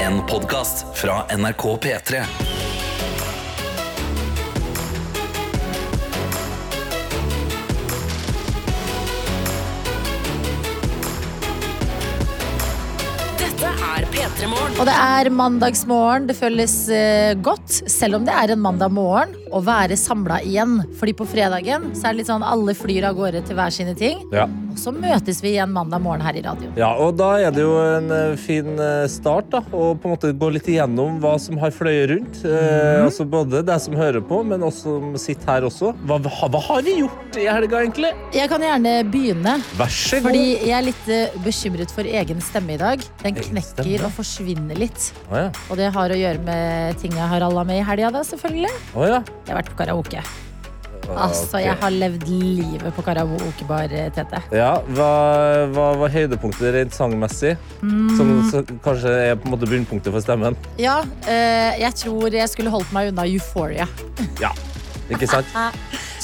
En podcast fra NRK P3 Dette er P3 Morgen. Og det er mandagsmorgen. Det føles eh, godt, selv om det er en mandag morgen, å være samla igjen. Fordi på fredagen så er det litt sånn alle flyr av gårde til hver sine ting. Ja. Og så møtes vi igjen mandag morgen her i radioen. ja, og da er det jo en eh, fin eh, start da, å på en måte gå litt igjennom hva som har fløyet rundt. Eh, Mhm. altså både deg som hører på, men oss som sitter her også. Hva, hva, hva har vi gjort i helga, egentlig? Jeg kan gjerne begynne, Vær så god. fordi jeg er litt eh, bekymret for egen stemme i dag. Den Egen stemme? knekker og forsvinner litt. Å ja. Og det har å gjøre med ting jeg har alla med i helga, da, selvfølgelig. Å ja. Jeg har vært på karaoke. Altså, jeg Ah, Ok. har levd livet på karaokebar, eh, Tete. ja hva, hva var høydepunktet rent sangmessig? Som Mm. så, kanskje er på en måte bunnpunktet for stemmen? Ja, eh, jeg tror jeg skulle holdt meg unna Euphoria. Ja. Ikke sant?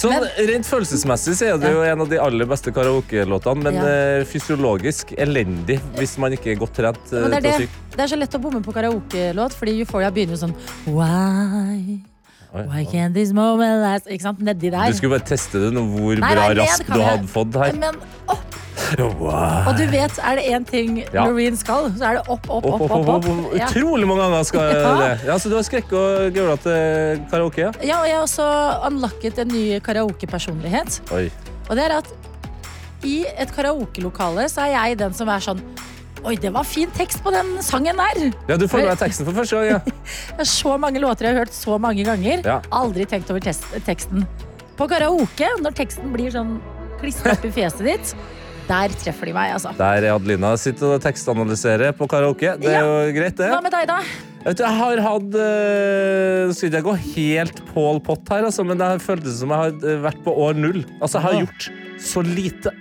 Sånn, rent følelsesmessig så er det jo en av de aller beste karaokelåtene, men Ja. eh, fysiologisk elendig hvis man ikke er godt trent. eh, Men det, til å er det, synge. det er så lett å bomme på karaokelåt, fordi Euphoria begynner jo sånn Why, Oi, why can't this moment last? Ikke sant? Nedi der. Du skulle bare teste det nå, hvor Nei, bra nei, ned rask kan du jeg. hadde fått her. Men opp. Wow. Og du vet, er det én ting Ja. Loreen skal, så er det opp, opp, Opp, opp. opp, opp, opp. Ja. Utrolig mange ganger skal jeg Ja. det. Ja, så du har skrekk og gaula til karaoke? Ja? ja, og jeg har også unlocket en ny karaokepersonlighet. Oi. Og det er at i et karaokelokale så er jeg den som er sånn Oi, det var fin tekst på den sangen der! Ja, du får med deg teksten for første gang. Ja. Det er så mange låter jeg har hørt så mange ganger. Ja. Aldri tenkt over tes- teksten. På karaoke, når teksten blir sånn klistra opp i fjeset ditt, der treffer de meg, altså. Der er Adelina. Sitter og tekstanalyserer på karaoke. Det er jo greit, det. Hva med deg, da? Jeg, vet, jeg har hatt øh, Skal ikke jeg gå helt Pål Pott her, altså, men det har føltes som jeg har øh, vært på år null. Altså, jeg har gjort så lite.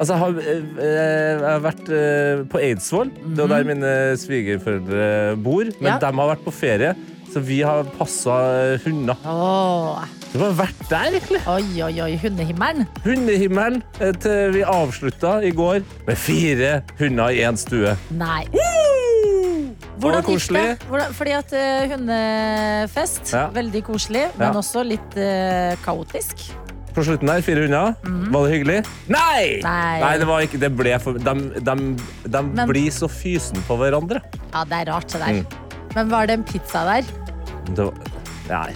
Altså, jeg har, øh, øh, jeg har vært øh, på Eidsvoll. Det er jo der mine svigerforeldre bor. Men Ja. de har vært på ferie, så vi har passa øh, hunder. Åh, Du har vært der, egentlig. oi, oi, oi, hundehimmelen. Hundehimmelen eh, til vi avslutta i går med fire hunder i én stue. Nei. Hvordan Hvordan gikk det? Hvordan, fordi at eh, hundefest, Ja. veldig koselig, Ja. men også litt eh, kaotisk. På slutten der, fire hunder. Var det hyggelig? Nei! Mhm. Nei. det var ikke det. Ble for, de de, de Men- blir så fysen på hverandre. Ja, det er rart, det Mm. der. Men var det en pizza der? Det var, nei,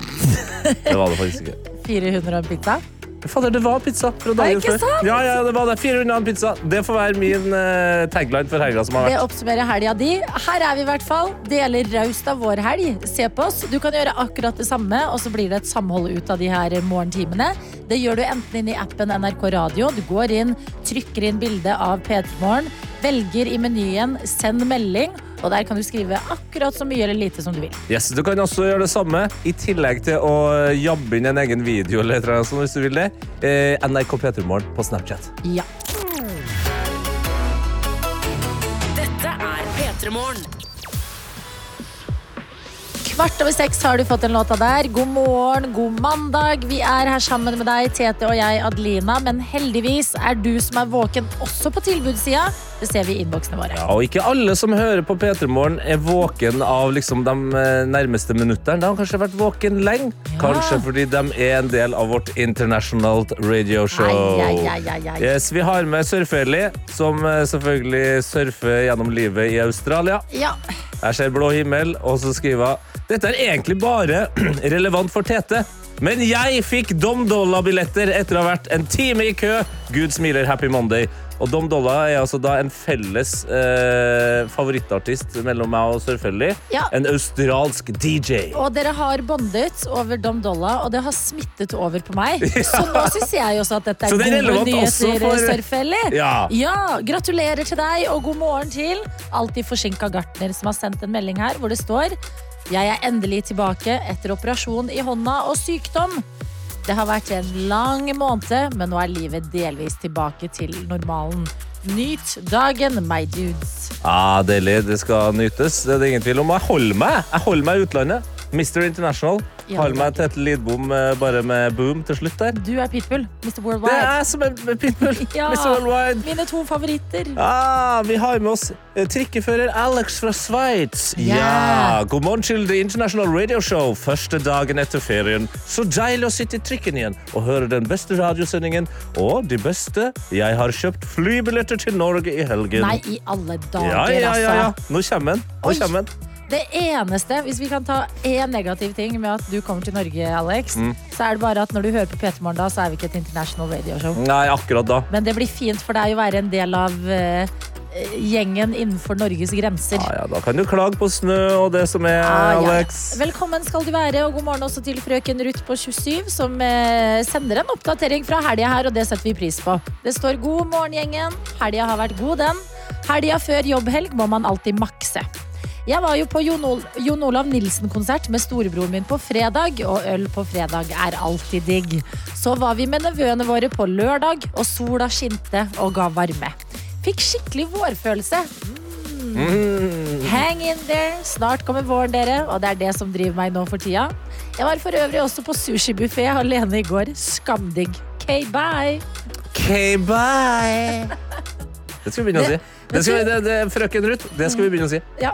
det var det faktisk ikke. 400 og en pizza? Fader, det var pizza fra dagen ikke før. sant? Ja, ja, det var det. Fire hunder og en pizza. Det får være min eh, tagline for helga som har Det vært. oppsummerer helga di. Her er vi i hvert fall. Deler raust av vår helg. Se på oss. Du kan gjøre akkurat det samme, og så blir det et samhold ut av de her morgentimene. Det gjør du enten inn i appen NRK Radio. Du går inn, trykker inn bilde av P3morgen, velger i menyen 'send melding', og der kan du skrive akkurat så mye eller lite som du vil. Yes, du kan også gjøre det samme, i tillegg til å jabbe inn en egen video eller et eller annet sånt, hvis du vil det. Eh, NRK P3 Morgen på Snapchat. Ja. Dette er P3 Morgen. Kvart over seks har du fått den låta der. God morgen, god mandag. Vi er her sammen med deg, Tete og jeg, Adelina. Men heldigvis er du som er våken også på tilbudssida. Det ser vi i innboksene våre. Ja, og ikke alle som hører på P3 Morgen, er våken av liksom de eh, nærmeste minuttene. De har kanskje vært våken lenge. Kanskje fordi de er en del av vårt international radio show. Ai, ai, ai, ai, ai. Yes, vi har med Sør-Feli, som eh, selvfølgelig surfer gjennom livet i Australia. Ja. Jeg ser blå himmel, og så skriver hun Dette er egentlig bare relevant for Tete. Men jeg fikk Dom Dolla-billetter etter å ha vært en time i kø. Gud smiler, happy monday. Og Dom Dolla er altså da en felles eh, favorittartist mellom meg og Sørfelli. Ja. En australsk DJ. Og dere har bondet over Dom Dolla, og det har smittet over på meg. Så nå syns jeg også at dette Så er, det er gode relevant også nyheter, for- Sørfeller. Ja. Gratulerer til deg, og god morgen til alltid forsinka gartner, som har sendt en melding her hvor det står Jeg er endelig tilbake etter operasjon i hånda og sykdom. Det har vært en lang måned, men nå er livet delvis tilbake til normalen. Nyt dagen, my dudes. Ja, Deilig. Det skal nytes. Det er det ingen tvil om. Og Jeg holder meg Jeg holder meg i utlandet. Mr. International. i Har alle meg dager. til et lydbom eh, bare med boom til slutt der. Du er Pitbull, Mr. Det Worldwide. er som en pitbull. Ja. Mr. Worldwide. Mine to favoritter. Ah, vi har med oss eh, trikkefører Alex fra Sveits. Ja. Ja. God morgen til The International Radio Show. Første dagen etter ferien. Så deilig å sitte i trikken igjen og høre den beste radiosendingen og de beste jeg har kjøpt flybilletter til Norge i helgen. Nei, i alle dager, Ja, ja, ja, ja. altså. Nå kommer den. Nå Oi. kommer den. Det eneste, hvis vi kan ta én negativ ting med at du kommer til Norge, Alex, så er det bare at når du hører på P3 Morgen da, så er vi ikke et international radioshow. Nei, akkurat da. Men det blir fint for deg å være en del av eh, gjengen innenfor Norges grenser. Ja, ja, da kan du klage på snø og det som er, Ah, Ja, ja, ja. Alex. Velkommen skal du være, og god morgen også til frøken Ruth på 27, som eh, sender en oppdatering fra helga her, og det setter vi pris på. Det står 'God morgen, gjengen'. Helga har vært god, den. Helga før jobbhelg må man alltid makse. Jeg var jo på Jon, Ol Jon Olav Nilsen-konsert med storebroren min på fredag, og øl på fredag er alltid digg. Så var vi med nevøene våre på lørdag, og sola skinte og ga varme. Fikk skikkelig vårfølelse. Mm. Hang in there. Snart kommer våren, dere, og det er det som driver meg nå for tida. Jeg var for øvrig også på sushibuffé alene i går. Skamdigg. K, bye. OK, bye. Det skal vi begynne å si. Det skal vi, det, det, frøken Ruth, det skal vi begynne å si. Ja.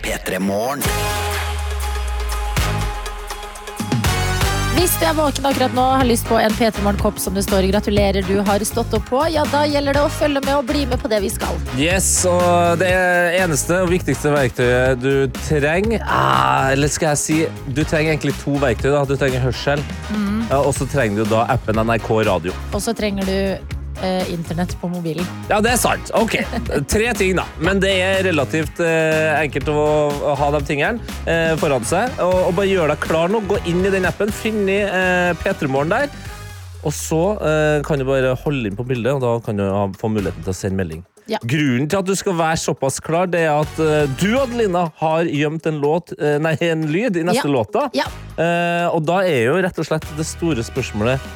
P3 Morgen. Hvis du er våken akkurat nå og har lyst på en P3morgen-kopp som det står 'Gratulerer, du har stått opp' på, ja, da gjelder det å følge med og bli med på det vi skal. Yes, og Det eneste og viktigste verktøyet du trenger ah, Eller skal jeg si Du trenger egentlig to verktøy. da. Du trenger hørsel, ja, og så trenger du da appen NRK Radio. Og så trenger du eh, internett på mobilen. Ja, det er sant. Ok, Tre ting, da. Men det er relativt eh, enkelt å, å ha de tingene eh, foran seg. Og, og bare gjør deg klar nå. Gå inn i den appen, finn i eh, P3morgen der. Og så eh, kan du bare holde inn på bildet, og da kan du ha, få muligheten til å sende melding. Ja. Grunnen til at du skal være såpass klar, det er at eh, du, Adelina, har gjemt en, låt, eh, nei, en lyd i neste Ja. låta. Ja. Eh, og da er jo rett og slett det store spørsmålet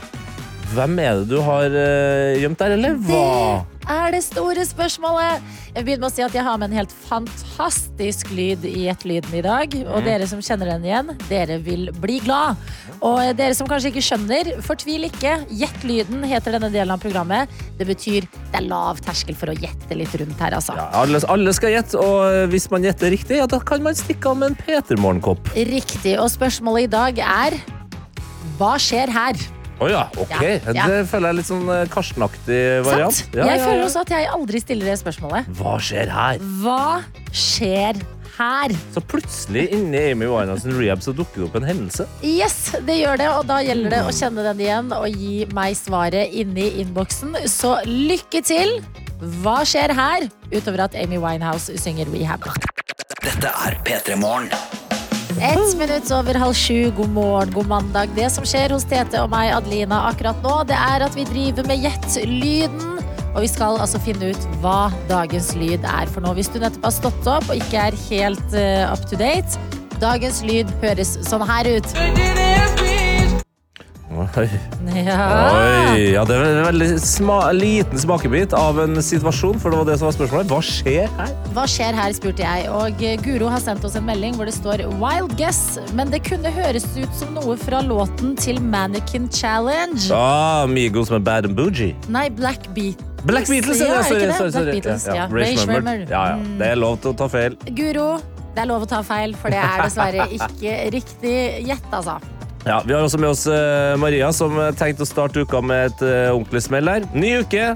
Hvem er det du har eh, gjemt der, eller hva? Det er det store spørsmålet. Jeg begynner med å si at jeg har med en helt fantastisk lyd i Gjett lyden i dag. Mm. Og dere som kjenner den igjen, dere vil bli glad. Og dere som kanskje ikke skjønner, fortvil ikke. Gjett lyden heter denne delen av programmet. Det betyr det er lav terskel for å gjette litt rundt her, altså. Ja, alle, alle skal gjette, og hvis man gjetter riktig, ja, da kan man stikke av med en Petermorgenkopp. Riktig. Og spørsmålet i dag er hva skjer her? Å ja, ok. Ja, ja. Det føler jeg er litt sånn eh, Karsten-aktig variant. Sant? Ja, jeg ja, føler ja. også at jeg aldri stiller det spørsmålet. Hva skjer her? Hva skjer her? Så plutselig inni Amy Winehouse rehab så dukker det opp en hendelse. Yes, det gjør det, og da gjelder det å kjenne den igjen og gi meg svaret inni innboksen. Så lykke til! Hva skjer her? Utover at Amy Winehouse synger Rehab. Dette er P3 Morgen. Ett minutt over halv sju. God morgen, god mandag. Det som skjer hos Tete og meg, Adelina, akkurat nå, det er at vi driver med Gjett-lyden. Og vi skal altså finne ut hva dagens lyd er for noe. Hvis du nettopp har stått opp og ikke er helt eh, up to date, dagens lyd høres sånn her ut. Oi, Ja. Oi. ja, Det er en veldig sma liten smakebit av en situasjon, for det var det som var spørsmålet. Hva skjer her? Hva skjer her, spurte jeg, og eh, Guro har sendt oss en melding hvor det står Wild guess, men det kunne høres ut som noe fra låten til Mannequin Challenge. Ah, Migos med Bad and Bougie. Nei, Black Beat. Black Beatles, ja, er det? ikke Sorry, det? sorry, Black sorry. Beatles, ja. Mm. Ray Ray Schwimmer. Schwimmer. Ja, ja. Det er lov til å ta feil. Guro, det er lov å ta feil, for det er dessverre ikke riktig gjett, altså. Ja, Vi har også med oss eh, Maria, som eh, tenkte å starte uka med et eh, ordentlig smell her. Ny uke.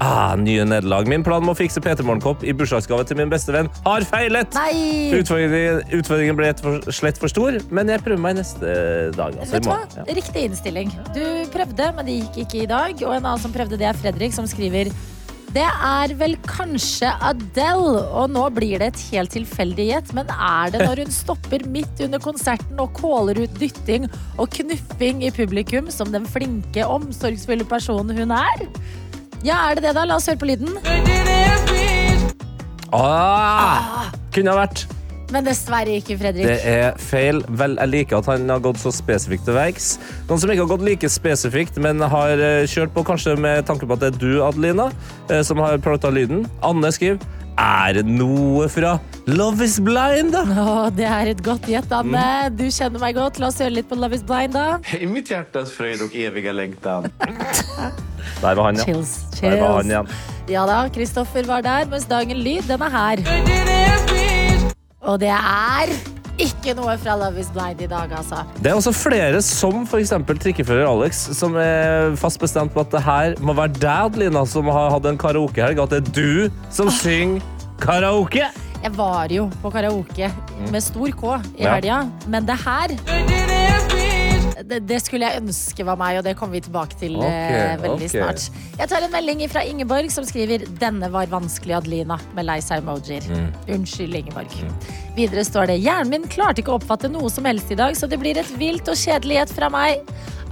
Ah, nye nederlag. Min plan med å fikse PT-morgenkopp i bursdagsgave til min beste venn har feilet! Nei! Utfordringen, utfordringen ble rett og slett for stor, men jeg prøver meg neste dag. Altså, Vet i du hva? morgen. Ja. Riktig innstilling. Du prøvde, men det gikk ikke i dag. Og en annen som prøvde, det er Fredrik, som skriver det er vel kanskje Adele, og nå blir det et helt tilfeldig gjett, men er det når hun stopper midt under konserten og caller ut dytting og knuffing i publikum som den flinke, omsorgsfulle personen hun er? Ja, er det det, da? La oss høre på lyden. Ah, kunne ha vært. Men dessverre ikke, Det Fredrik. er feil. Vel, jeg liker at han har gått så spesifikt til verks. Noen som ikke har gått like spesifikt, men har eh, kjørt på kanskje med tanke på at det er du, Adelina, eh, som har planta lyden. Anne skriver Er det noe fra Love is blind, da? Å, det er et godt gjett, Anne. Mm. Du kjenner meg godt. La oss høre litt på Love is blind, da. I mitt hjärtas fröjd och eviga längtan. Der var han, ja. Chills. Der var han chills. igjen. Ja da, Kristoffer var der, mens Dagen Lyd, den er her. Og det er ikke noe fra Love is blind i dag, altså. Det er også flere, som f.eks. trikkefører Alex, som er fast bestemt på at det her må være deg, Adelina, som har hatt en karaokehelg. At det er du som synger karaoke! Jeg var jo på karaoke med stor K i Mm. Ja. helga, men det her det, det skulle jeg ønske var meg, og det kommer vi tilbake til Ok, eh, veldig ok. snart. Jeg tar en melding fra Ingeborg som skriver 'Denne var vanskelig, Adelina', med lei seg-emojier. Mm. Unnskyld, Ingeborg. Videre står det 'Hjernen min klarte ikke å oppfatte noe som helst i dag, så det blir et vilt og kjedelig gjett fra meg'.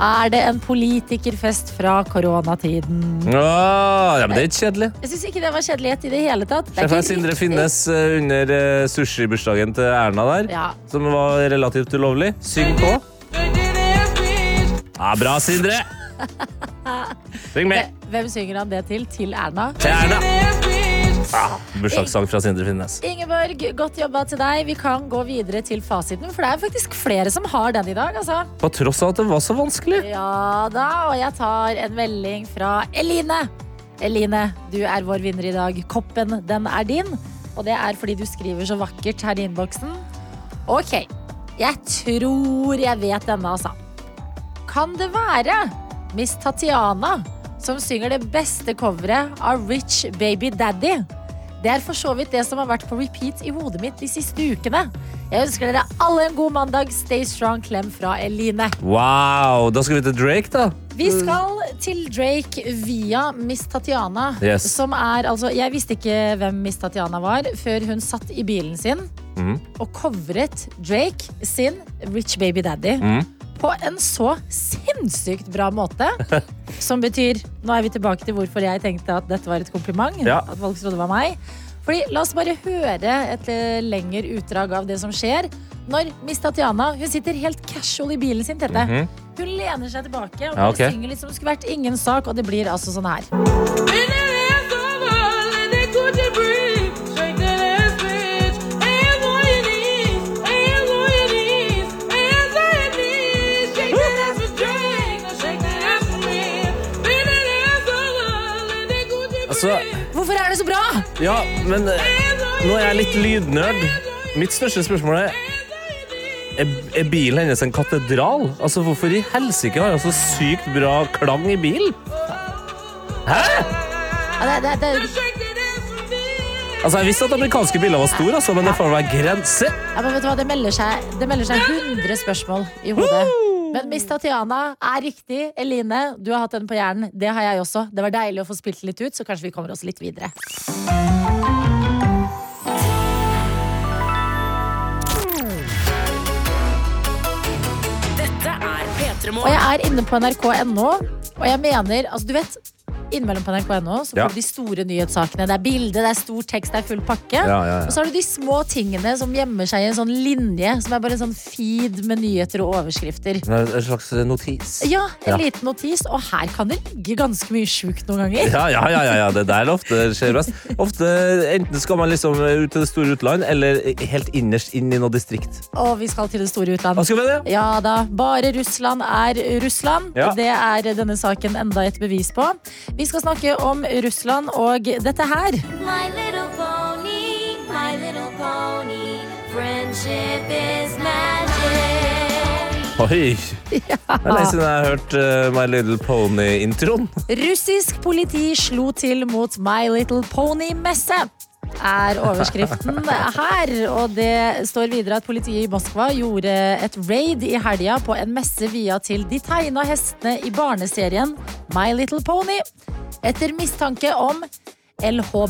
Er det en politikerfest fra koronatiden? Åh, ja, men det er ikke kjedelig. Jeg syns ikke det var kjedelig gjett i det hele tatt. Det er Se for ikke deg Sindre riktig. Finnes eh, under eh, sushibursdagen til Erna der, Ja. som var relativt ulovlig. Syng på. Ja, bra, Sindre! Syng med Hvem synger han det til? Til Erna? til Erna. Ah, bursdagssang fra Sindre Finnes. Ingeborg, godt jobba til deg. Vi kan gå videre til fasiten, for det er faktisk flere som har den i dag, altså. På tross av at det var så vanskelig. Ja da, og jeg tar en melding fra Eline. Eline, du er vår vinner i dag. Koppen, den er din. Og det er fordi du skriver så vakkert her i innboksen. Ok, jeg tror jeg vet denne, altså. Kan det være Miss Tatiana som synger det beste coveret av Rich Baby Daddy? Det er for så vidt det som har vært på repeat i hodet mitt de siste ukene. Jeg ønsker dere alle en god mandag. Stay strong. Klem fra Eline. Wow! Da skal vi til Drake, da. Vi skal til Drake via Miss Tatiana. Yes. Som er, altså, jeg visste ikke hvem Miss Tatiana var før hun satt i bilen sin Mm. og covret Drake sin Rich Baby Daddy Mm. på en så sinnssykt bra måte. som betyr Nå er vi tilbake til hvorfor jeg tenkte at dette var et kompliment. Ja. At folk trodde det var meg. Fordi, la oss bare høre et eh, lengre utdrag av det som skjer. Når Miss Tatiana hun sitter helt casual i bilen sin, Tete. Mhm. Hun lener seg tilbake og Ja, bare ok. synger litt som om det skulle vært ingen sak, og det blir altså sånn her. Altså, Hvorfor er det så bra? ja, men eh, nå er jeg litt lydnerd. Mitt største spørsmål er Er, er bilen hennes en katedral? Altså, Hvorfor i helsike har hun så sykt bra klang i bilen? Ja, det, det, det, Altså, Jeg visste at amerikanske biler var store, altså, men det får være grense. ja, men vet du hva, det melder seg Det melder seg 100 spørsmål i hodet. Men Miss Tatiana er riktig. Eline, du har hatt den på hjernen. Det har jeg også. Det var deilig å få spilt litt ut, så kanskje vi kommer oss litt videre. Dette er P3 Og Morgen. jeg er inne på nrk.no, og jeg mener Altså, du vet. Innimellom på nrk.no så får Ja. du de store nyhetssakene. Det er bilde, det er stor tekst, det er full pakke. Ja, ja, ja. Og så har du de små tingene som gjemmer seg i en sånn linje, som er bare en sånn feed med nyheter og overskrifter. Det er En slags notis. Ja, en Ja. liten notis, og her kan det ligge ganske mye sjukt noen ganger. Ja, ja, ja, ja, ja. det er der det ofte skjer best. Ofte Enten skal man liksom ut til det store utland, eller helt innerst inn i noe distrikt. Og vi skal til det store utland. Hva skal vi med det? Ja da. Bare Russland er Russland. Ja. Det er denne saken enda et bevis på. Vi skal snakke om Russland og dette her. My little pony, my little pony, friendship is magic. Oi! Det er lenge siden jeg har hørt eh, My Little Pony-introen. Russisk politi slo til mot My Little Pony-messe. Er overskriften her. Og det står videre at politiet i Moskva gjorde et raid i helga på en messe via til de tegna hestene i barneserien My Little Pony. Etter mistanke om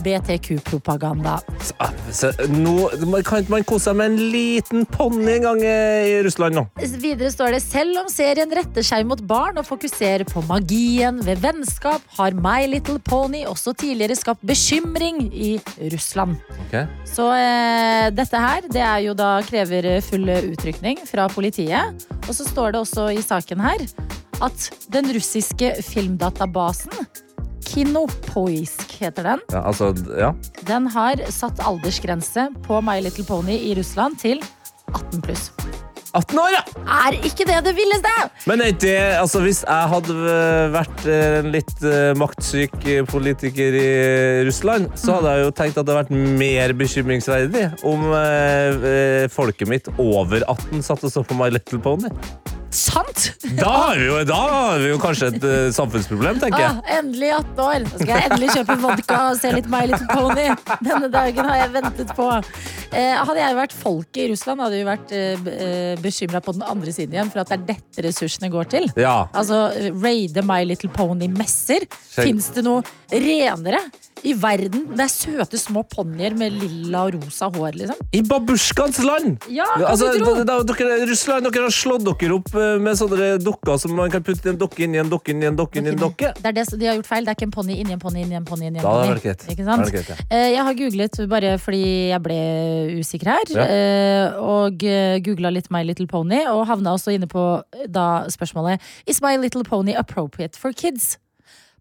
LHBTQ-propaganda. Ah, så Nå, man kan ikke man kose seg med en liten ponni en gang eh, i Russland nå? Videre står det selv om serien retter seg mot barn og fokuserer på magien ved vennskap, har My Little Pony også tidligere skapt bekymring i Russland. Så eh, dette her, det er jo da krever full utrykning fra politiet. Og så står det også i saken her at den russiske filmdatabasen Kinopoisk heter den. Ja, altså, ja. Den har satt aldersgrense på My Little Pony i Russland til 18 pluss. 18 år, ja! Er ikke det det villeste? Men er ikke det, altså, hvis jeg hadde øh, vært øh, en litt øh, maktsyk øh, politiker i Russland, så hadde jeg jo tenkt at det hadde vært mer bekymringsverdig om øh, øh, folket mitt over 18 satt og så på My Little Pony. Sant! Da har vi jo, da har vi jo kanskje et øh, samfunnsproblem, tenker jeg. Ah, endelig 18 år. Da skal jeg endelig kjøpe vodka og se litt My Little Pony. Denne dagen har jeg ventet på. Eh, hadde jeg vært folket i Russland, hadde vi vært eh, bekymra på den andre siden igjen, for at det er dette ressursene går til. Ja. Altså, raide My Little Pony-messer. Sjekk. Fins det noe renere i verden? Det er søte små ponnier med lilla og rosa hår, liksom. I babusjkaens land! Ja, hva du tro? d- d- d- dere, Russland dere har slått dere opp eh, med sånne dukker som man kan putte en dokke inn i en dokke inn i en dokke inn i en dokke. Det er det som- de har gjort feil. Det er ikke en ponni inni en ponni inni en ponni. inni en Da hadde ponni. det vært greit. Ikke sant? Da hadde det vært greit, Eh, Jeg har googlet bare fordi jeg ble usikker her. Ja. eh, Og googla litt My Little Pony, og havna også inne på eh, da spørsmålet Is My Little Pony appropriate for kids?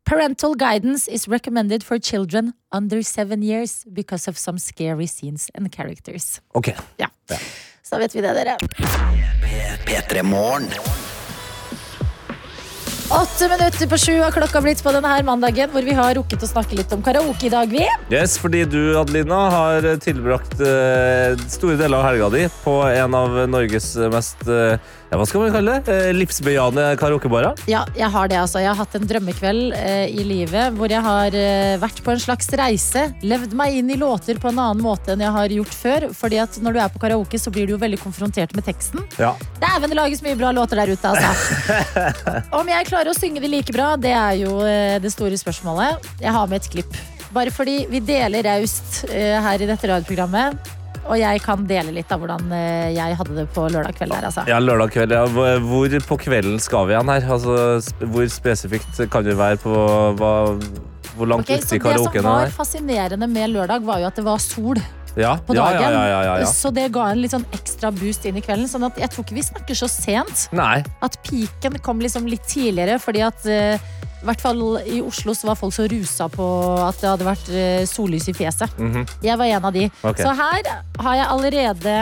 Parental guidance is recommended for children under seven years because of some scary scenes and characters. Ok. Ja. Så da vet vi det, dere. P3 Morgen. Åtte minutter på sju har klokka blitt på denne her mandagen, hvor vi har rukket å snakke litt om karaoke i dag, vi. Yes, fordi du, Adelina, har tilbrakt eh, store deler av helga di på en av Norges mest eh, ja, Hva skal man kalle det? Eh, livsbejaende karaokebarer. Ja, jeg har det altså. Jeg har hatt en drømmekveld eh, i livet hvor jeg har eh, vært på en slags reise. Levd meg inn i låter på en annen måte enn jeg har gjort før. Fordi at når du er på karaoke, så blir du jo veldig konfrontert med teksten. Ja. Dæven, det lages mye bra låter der ute, altså. Om jeg klarer å synge de like bra, det er jo eh, det store spørsmålet. Jeg har med et klipp. Bare fordi vi deler raust eh, her i dette radioprogrammet. Og jeg kan dele litt av hvordan eh, jeg hadde det på lørdag kveld der, altså. ja, lørdag kveld. Ja. Hvor- Hvor på kvelden skal vi igjen her? Altså, sp- hvor spesifikt kan vi være på hva, hvor langt Ok, så ute i det som karaoken var er? fascinerende med lørdag, var jo at det var sol Ja. på Ja, dagen. Eh, ja, ja, ja, ja, ja. Så det ga en litt sånn ekstra boost inn i kvelden. Sånn at jeg tror ikke vi snakker så sent. Nei. At piken kom liksom litt tidligere, fordi at eh, i hvert fall i Oslo så var folk så rusa på at det hadde vært eh, sollys i fjeset. Jeg var en av de. Mhm. Ok. Så her har jeg allerede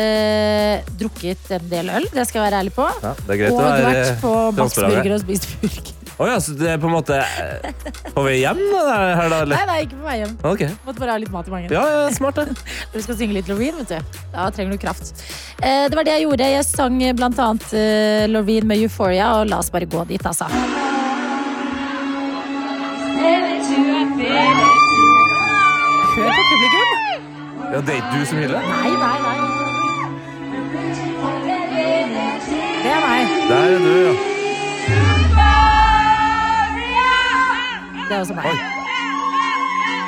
eh, drukket en del øl, det skal jeg være ærlig på. Ja, det er greit og å være vært på Max transparent. Burger og spist burger. Å ja, så det er på en måte eh, på vei hjem da, det her, da? Eller? Nei, nei, ikke på vei hjem. Ok. Måtte bare ha litt mat i magen. Ja, ja, smart, det. Du skal synge litt Loreen, vet du. Da trenger du kraft. Eh, det var det jeg gjorde. Jeg sang eh, blant annet eh, Loreen med Euphoria, og la oss bare gå dit, altså. Hør på publikum. Ja, det er ikke du som hyller? Nei, nei, nei. Det er meg. Der er du, ja. Det er også meg. Oi.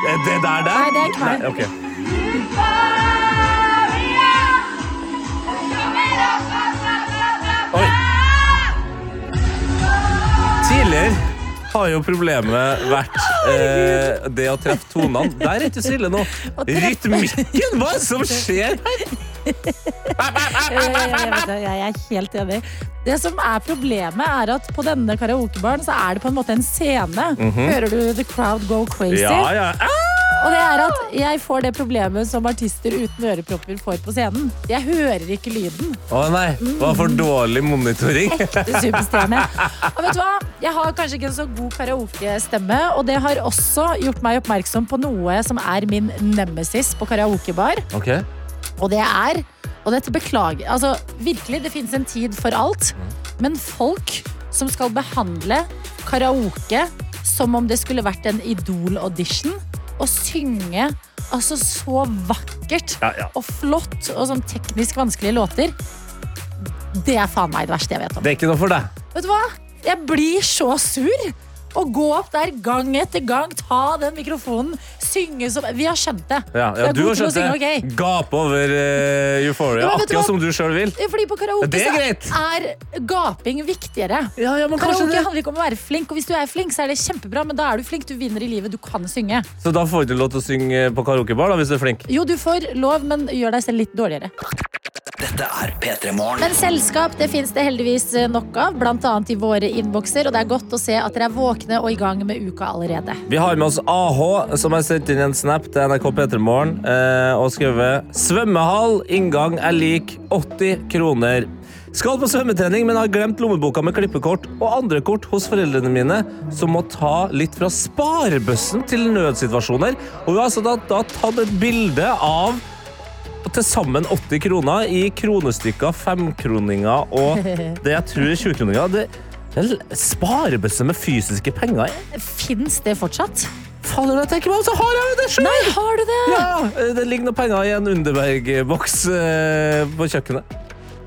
Er det der, der? Nei, det er ikke meg. Nei, ok. Oi. Tidligere har jo problemet vært eh, det å treffe tonene. Der er ikke Silje nå. treffe- Rytmikken, hva er det som skjer her? Ja, ja, ja, Eh, jeg, vet det. jeg er helt enig. Det som er problemet, er at på denne karaokebaren så er det på en måte en scene. Hører du the crowd go crazy? Mhm. Ja, ja. Ah! Og det er at jeg får det problemet som artister uten ørepropper får på scenen. Jeg hører ikke lyden. Å nei, var for dårlig monitoring. Ekte superstjerne. Og vet du hva? Jeg har kanskje ikke en så god karaokestemme, og det har også gjort meg oppmerksom på noe som er min nemesis på karaokebar, Ok, og det er Og dette beklager Altså, virkelig, det fins en tid for alt, men folk som skal behandle karaoke som om det skulle vært en Idol-audition, og synge altså så vakkert ja, ja. og flott og sånn teknisk vanskelige låter, det er faen meg det verste jeg vet om. Det er ikke noe for deg. Vet du hva? Jeg blir så sur. Å gå opp der gang etter gang, ta den mikrofonen, synge som Vi har skjønt det. Ja, Jeg ja, er du god har til å skjønt det. synge, ok. Gape over eh, euphoria, Ja, men vet du akkurat hva? som du sjøl vil. Ja, Fordi på karaoke Det er så er gaping viktigere. Ja, ja, men kanskje Karaoke det. handler ikke om å være flink, og hvis du er flink, så er det kjempebra, men da er du flink, du vinner i livet, du kan synge. Så da får du ikke lov til å synge på karaokebar da, hvis du er flink. Jo, du får lov, men gjør deg selv litt dårligere. Dette er P3 Morgen. Men selskap det finnes det heldigvis eh, nok av, bl.a. i våre innbokser. Og det er godt å se at dere er våkne og i gang med uka allerede. Vi har med oss AH, som har sendt inn en snap til NRK P3morgen eh, og skrevet Svømmehall, inngang er lik 80 kroner. Skal på svømmetrening, men har glemt lommeboka med klippekort og andre kort hos foreldrene mine, som må ta litt fra sparebøssen til nødsituasjoner. Og hun har altså da, da tatt et bilde av til sammen 80 kroner i kronestykker, femkroninger og det jeg tror er 20-kroninger. Det- det er l- Sparebøsse med fysiske penger? Fins det fortsatt? Fader, når jeg tenker meg om, så har jeg jo det sjøl! Nei, har du det? Ja, det ligger noen penger i en Underberg-boks eh, på kjøkkenet.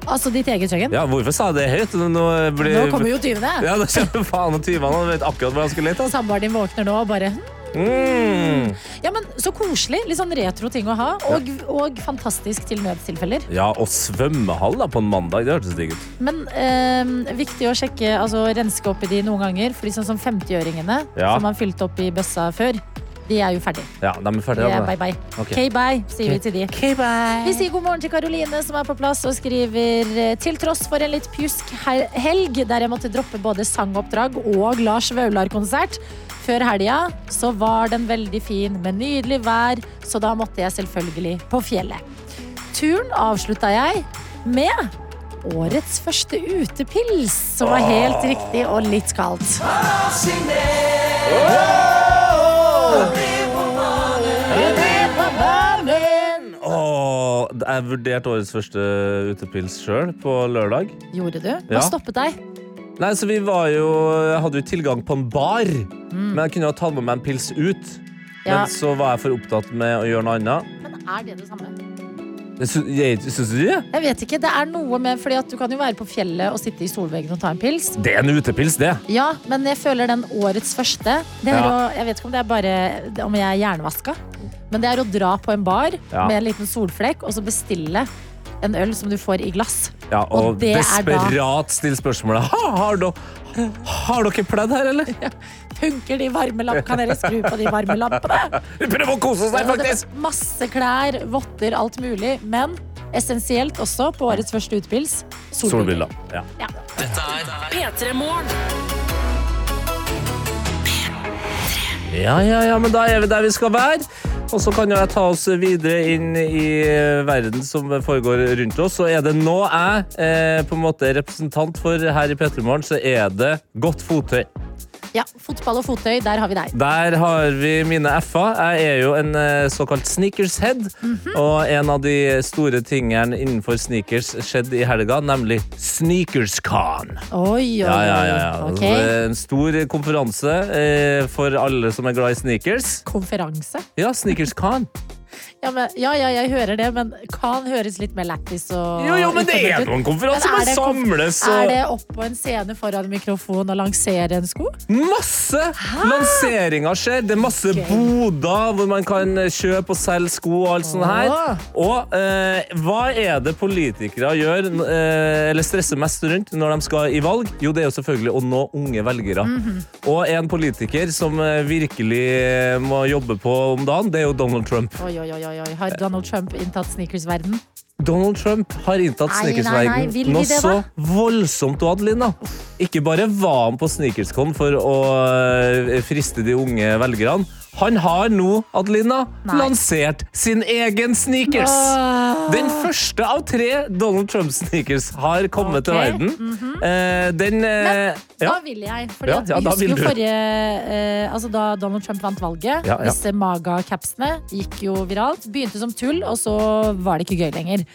Altså ditt eget kjøkken? Ja, hvorfor sa jeg det høyt? Nå, blir... Nå kommer jo tyvene. Ja, nå kommer faen og tyvene og vet akkurat hvor han skulle lete. Samboeren din våkner nå og bare hmm. Altså. Mm. Ja, men Så koselig. Litt sånn retro ting å ha. Og, og fantastisk til nødstilfeller. Ja, og svømmehall da, på en mandag, det hørtes digg ut. Men eh, viktig å sjekke, altså renske opp i de noen ganger. For de sånn som 50-åringene Ja. som man fylte opp i bøssa før, de er jo ferdig. Ja, de er De ferdige er da. Eh, bye bye. Ok. Okay. bye, sier vi til de. Vi sier god morgen til Karoline som er på plass og skriver eh, til tross for en litt pjusk hel- helg der jeg måtte droppe både sangoppdrag og Lars Vaular-konsert før helga, så var den veldig fin med nydelig vær, så da måtte jeg selvfølgelig på fjellet. Turen avslutta jeg med Årets første utepils, som var helt riktig og litt kaldt. Åh, jeg vurderte årets første utepils sjøl på lørdag. Gjorde du? Ja. Hva stoppet deg? Nei, så vi var jo Jeg hadde jo tilgang på en bar, men jeg kunne jo ha tatt med meg en pils ut. Mm. Ja. Men så var jeg for opptatt med å gjøre noe annet. Men er det det samme? Jeg sy- jeg- Syns du det? Jeg vet ikke, det er noe med Fordi at du kan jo være på fjellet og sitte i solveggen og ta en pils Det er en utepils, det. Ja, men jeg føler den årets første det er Ja. å, Jeg vet ikke om det er bare Om jeg er hjernevaska Men det er å dra på en bar Ja. Med en liten solflekk Og så bestille en øl som du får i glass Ja, og, Og det er da- desperat still spørsmålet. Ha, har, dere, har dere pledd her, eller? Punker de varme lampene Kan dere skru på de varme lampene? Vi prøver å kose oss der, Og det faktisk! var Masse klær, votter, alt mulig Men essensielt også på årets første utepils Solbriller. Ja. P3 Morgen. ja, ja, ja, men da er vi der vi skal være. Og så kan jo jeg ta oss videre inn i eh, verden som foregår rundt oss. Så er det nå jeg eh, på en måte er representant for her i Petremorgen, så er det godt fottøy. Ja, fotball og fottøy, der har vi deg Der har vi mine F-er. Jeg er jo en eh, såkalt sneakershead. Mhm. Og en av de store tingene innenfor sneakers skjedde i helga, nemlig Sneakerscon. Oi, oi, Ja, ja, ja, ja. oi. Ok. Det er En stor konferanse eh, for alle som er glad i sneakers. Konferanse? Ja, Sneakerscon. Ja, men, ja, ja, jeg hører det, men kan høres litt mer lættis og Jo, jo, men det er utdatert ut. noen konferanser. Men er Man det konf- samles Er det og opp på en scene foran en mikrofon og lansere en sko? Masse lanseringer skjer. Det er masse boder hvor man kan eh, kjøpe og selge sko og alt sånt her. Og eh, hva er det politikere gjør, eh, eller stresser mest rundt når de skal i valg? Jo, det er jo selvfølgelig å nå unge velgere. Og en politiker som eh, virkelig må jobbe på om dagen, det er jo Donald Trump. Oi, oi, oi, oi, oi. Har Donald Trump inntatt sneakersverden? Donald Trump har inntatt Nei, nei, nei, vil sneakersverdenen vi noe det, så da? voldsomt, og Adelina. Ikke bare var han på sneakerscon for å eh, friste de unge velgerne. Han har nå, Adelina, Nei. lansert sin egen sneakers. Åh. Den første av tre Donald Trump-sneakers har kommet til Ok, Mhm. verden. Eh, den eh, ja. Da vil jeg. Fordi Ja, at ja, vi da husker vil jo du. forrige eh, Altså Da Donald Trump vant valget, Ja, ja. disse maga-capsene gikk jo viralt. Begynte som tull, og så var det ikke gøy lenger.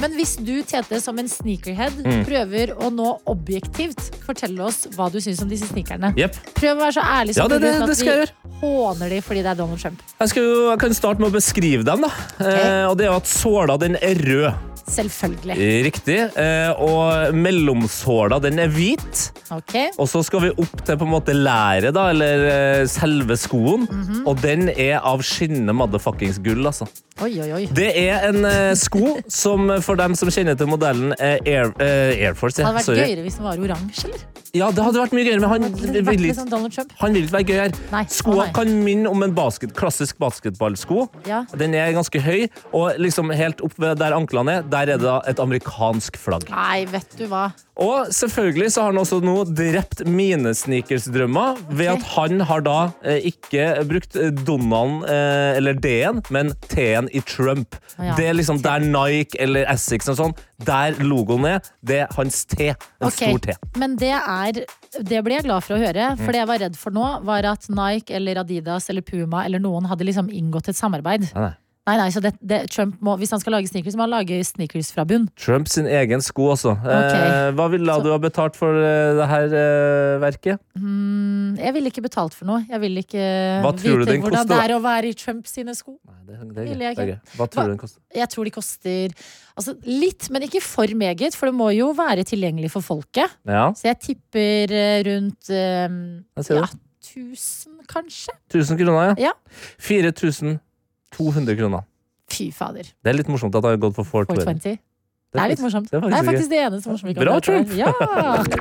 Men hvis du, Tete, som en sneakerhead, Mm. prøver å nå objektivt fortelle oss hva du syns om disse sneakerne. Jepp. Prøv å være så ærlig som Ja, mulig, det- det- uten det skal jeg at vi håner de fordi det er Donald Trump. Jeg, skal jo, jeg kan starte med å beskrive dem. da. Eh, og det er jo at såla den er rød. Selvfølgelig. Riktig. Eh, og mellomsåla den er hvit. Ok? Og så skal vi opp til på en måte læret, da, eller eh, selve skoen. Mhm. Og den er av skinnende motherfuckings gull, altså. Oi, oi, oi. Det er en eh, sko som eh, for dem som kjenner til modellen eh, Air, eh, Air Force. Det Ja. hadde vært Sorry. gøyere hvis den var oransje, eller? ja, det hadde vært mye gøyere, men han Det hadde vil vært litt ikke sånn Donald Trump. han vil ikke være gøy her. Nei, å Skoa nei. kan minne om en basket, klassisk basketballsko. Ja. Den er ganske høy, og liksom helt opp ved der anklene er, der der er det da et amerikansk flagg. Nei, vet du hva. Og selvfølgelig så har han også nå drept mine sneakersdrømmer ved at han har da eh, ikke brukt Donald eh, eller D-en, men T-en i Trump. Å ja. Det er liksom der Nike eller Essex og sånn, der logoen er, det er hans T. En Ok, stor Mm. T. Men det er Det ble jeg glad for å høre. For det jeg var redd for nå, var at Nike eller Adidas eller Puma eller noen hadde liksom inngått et samarbeid. Nei, nei. Nei, nei, så det, det, Trump må, Hvis han skal lage sneakers, må han lage sneakers fra bunn. Trump sin egen sko også. Eh, hva ville du ha betalt for eh, det her eh, verket? Mm, Jeg ville ikke betalt for noe. Jeg ville ikke Hva tror du vite den hvordan koster, det da? er å være i Trump sine sko. Nei, det, det, er Ville jeg greit, det er ikke. greit. Hva Hva- tror du den koster? Jeg tror de koster altså, litt, men ikke for meget, for det må jo være tilgjengelig for folket. Ja, Så jeg tipper eh, rundt eh, jeg ser ja, det. 1000, kanskje? 1000 kroner, ja. Ja. 4200 kroner. Fy fader. Det er litt morsomt at han har gått for 420. 420. Det er litt morsomt. Det er faktisk, det eneste morsomme vi kan Bra, prate om. Trump!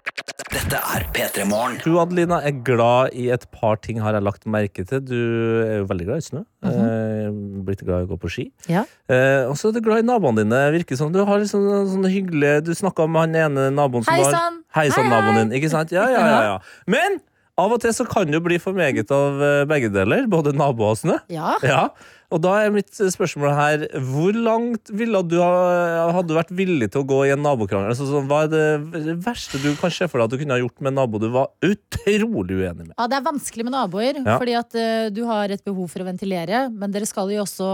Ja. Dette er P3 Morgen. Du, Adelina, er glad i et par ting har jeg lagt merke til. Du er jo veldig glad i snø. eh, blitt glad i å gå på ski. Mhm. Ja. Eh, og så er du glad i naboene dine. Virker som Du har liksom sånne hyggelige Du snakka med han ene naboen som Hei var sann! Hei sann, Hei, hei. naboen din. Ikke sant? Ja, ja, ja, ja. Men av og til så kan det jo bli for meget av eh, begge deler. Både nabo og snø. Ja. Ja, og da er mitt spørsmål her Hvor langt ville du ha, hadde du vært villig til å gå i en nabokrangel? Altså, sånn, hva er det verste du kan se for deg at du kunne ha gjort med en nabo du var utrolig uenig med? Ja, Det er vanskelig med naboer, Ja. fordi at eh, du har et behov for å ventilere. Men dere skal jo også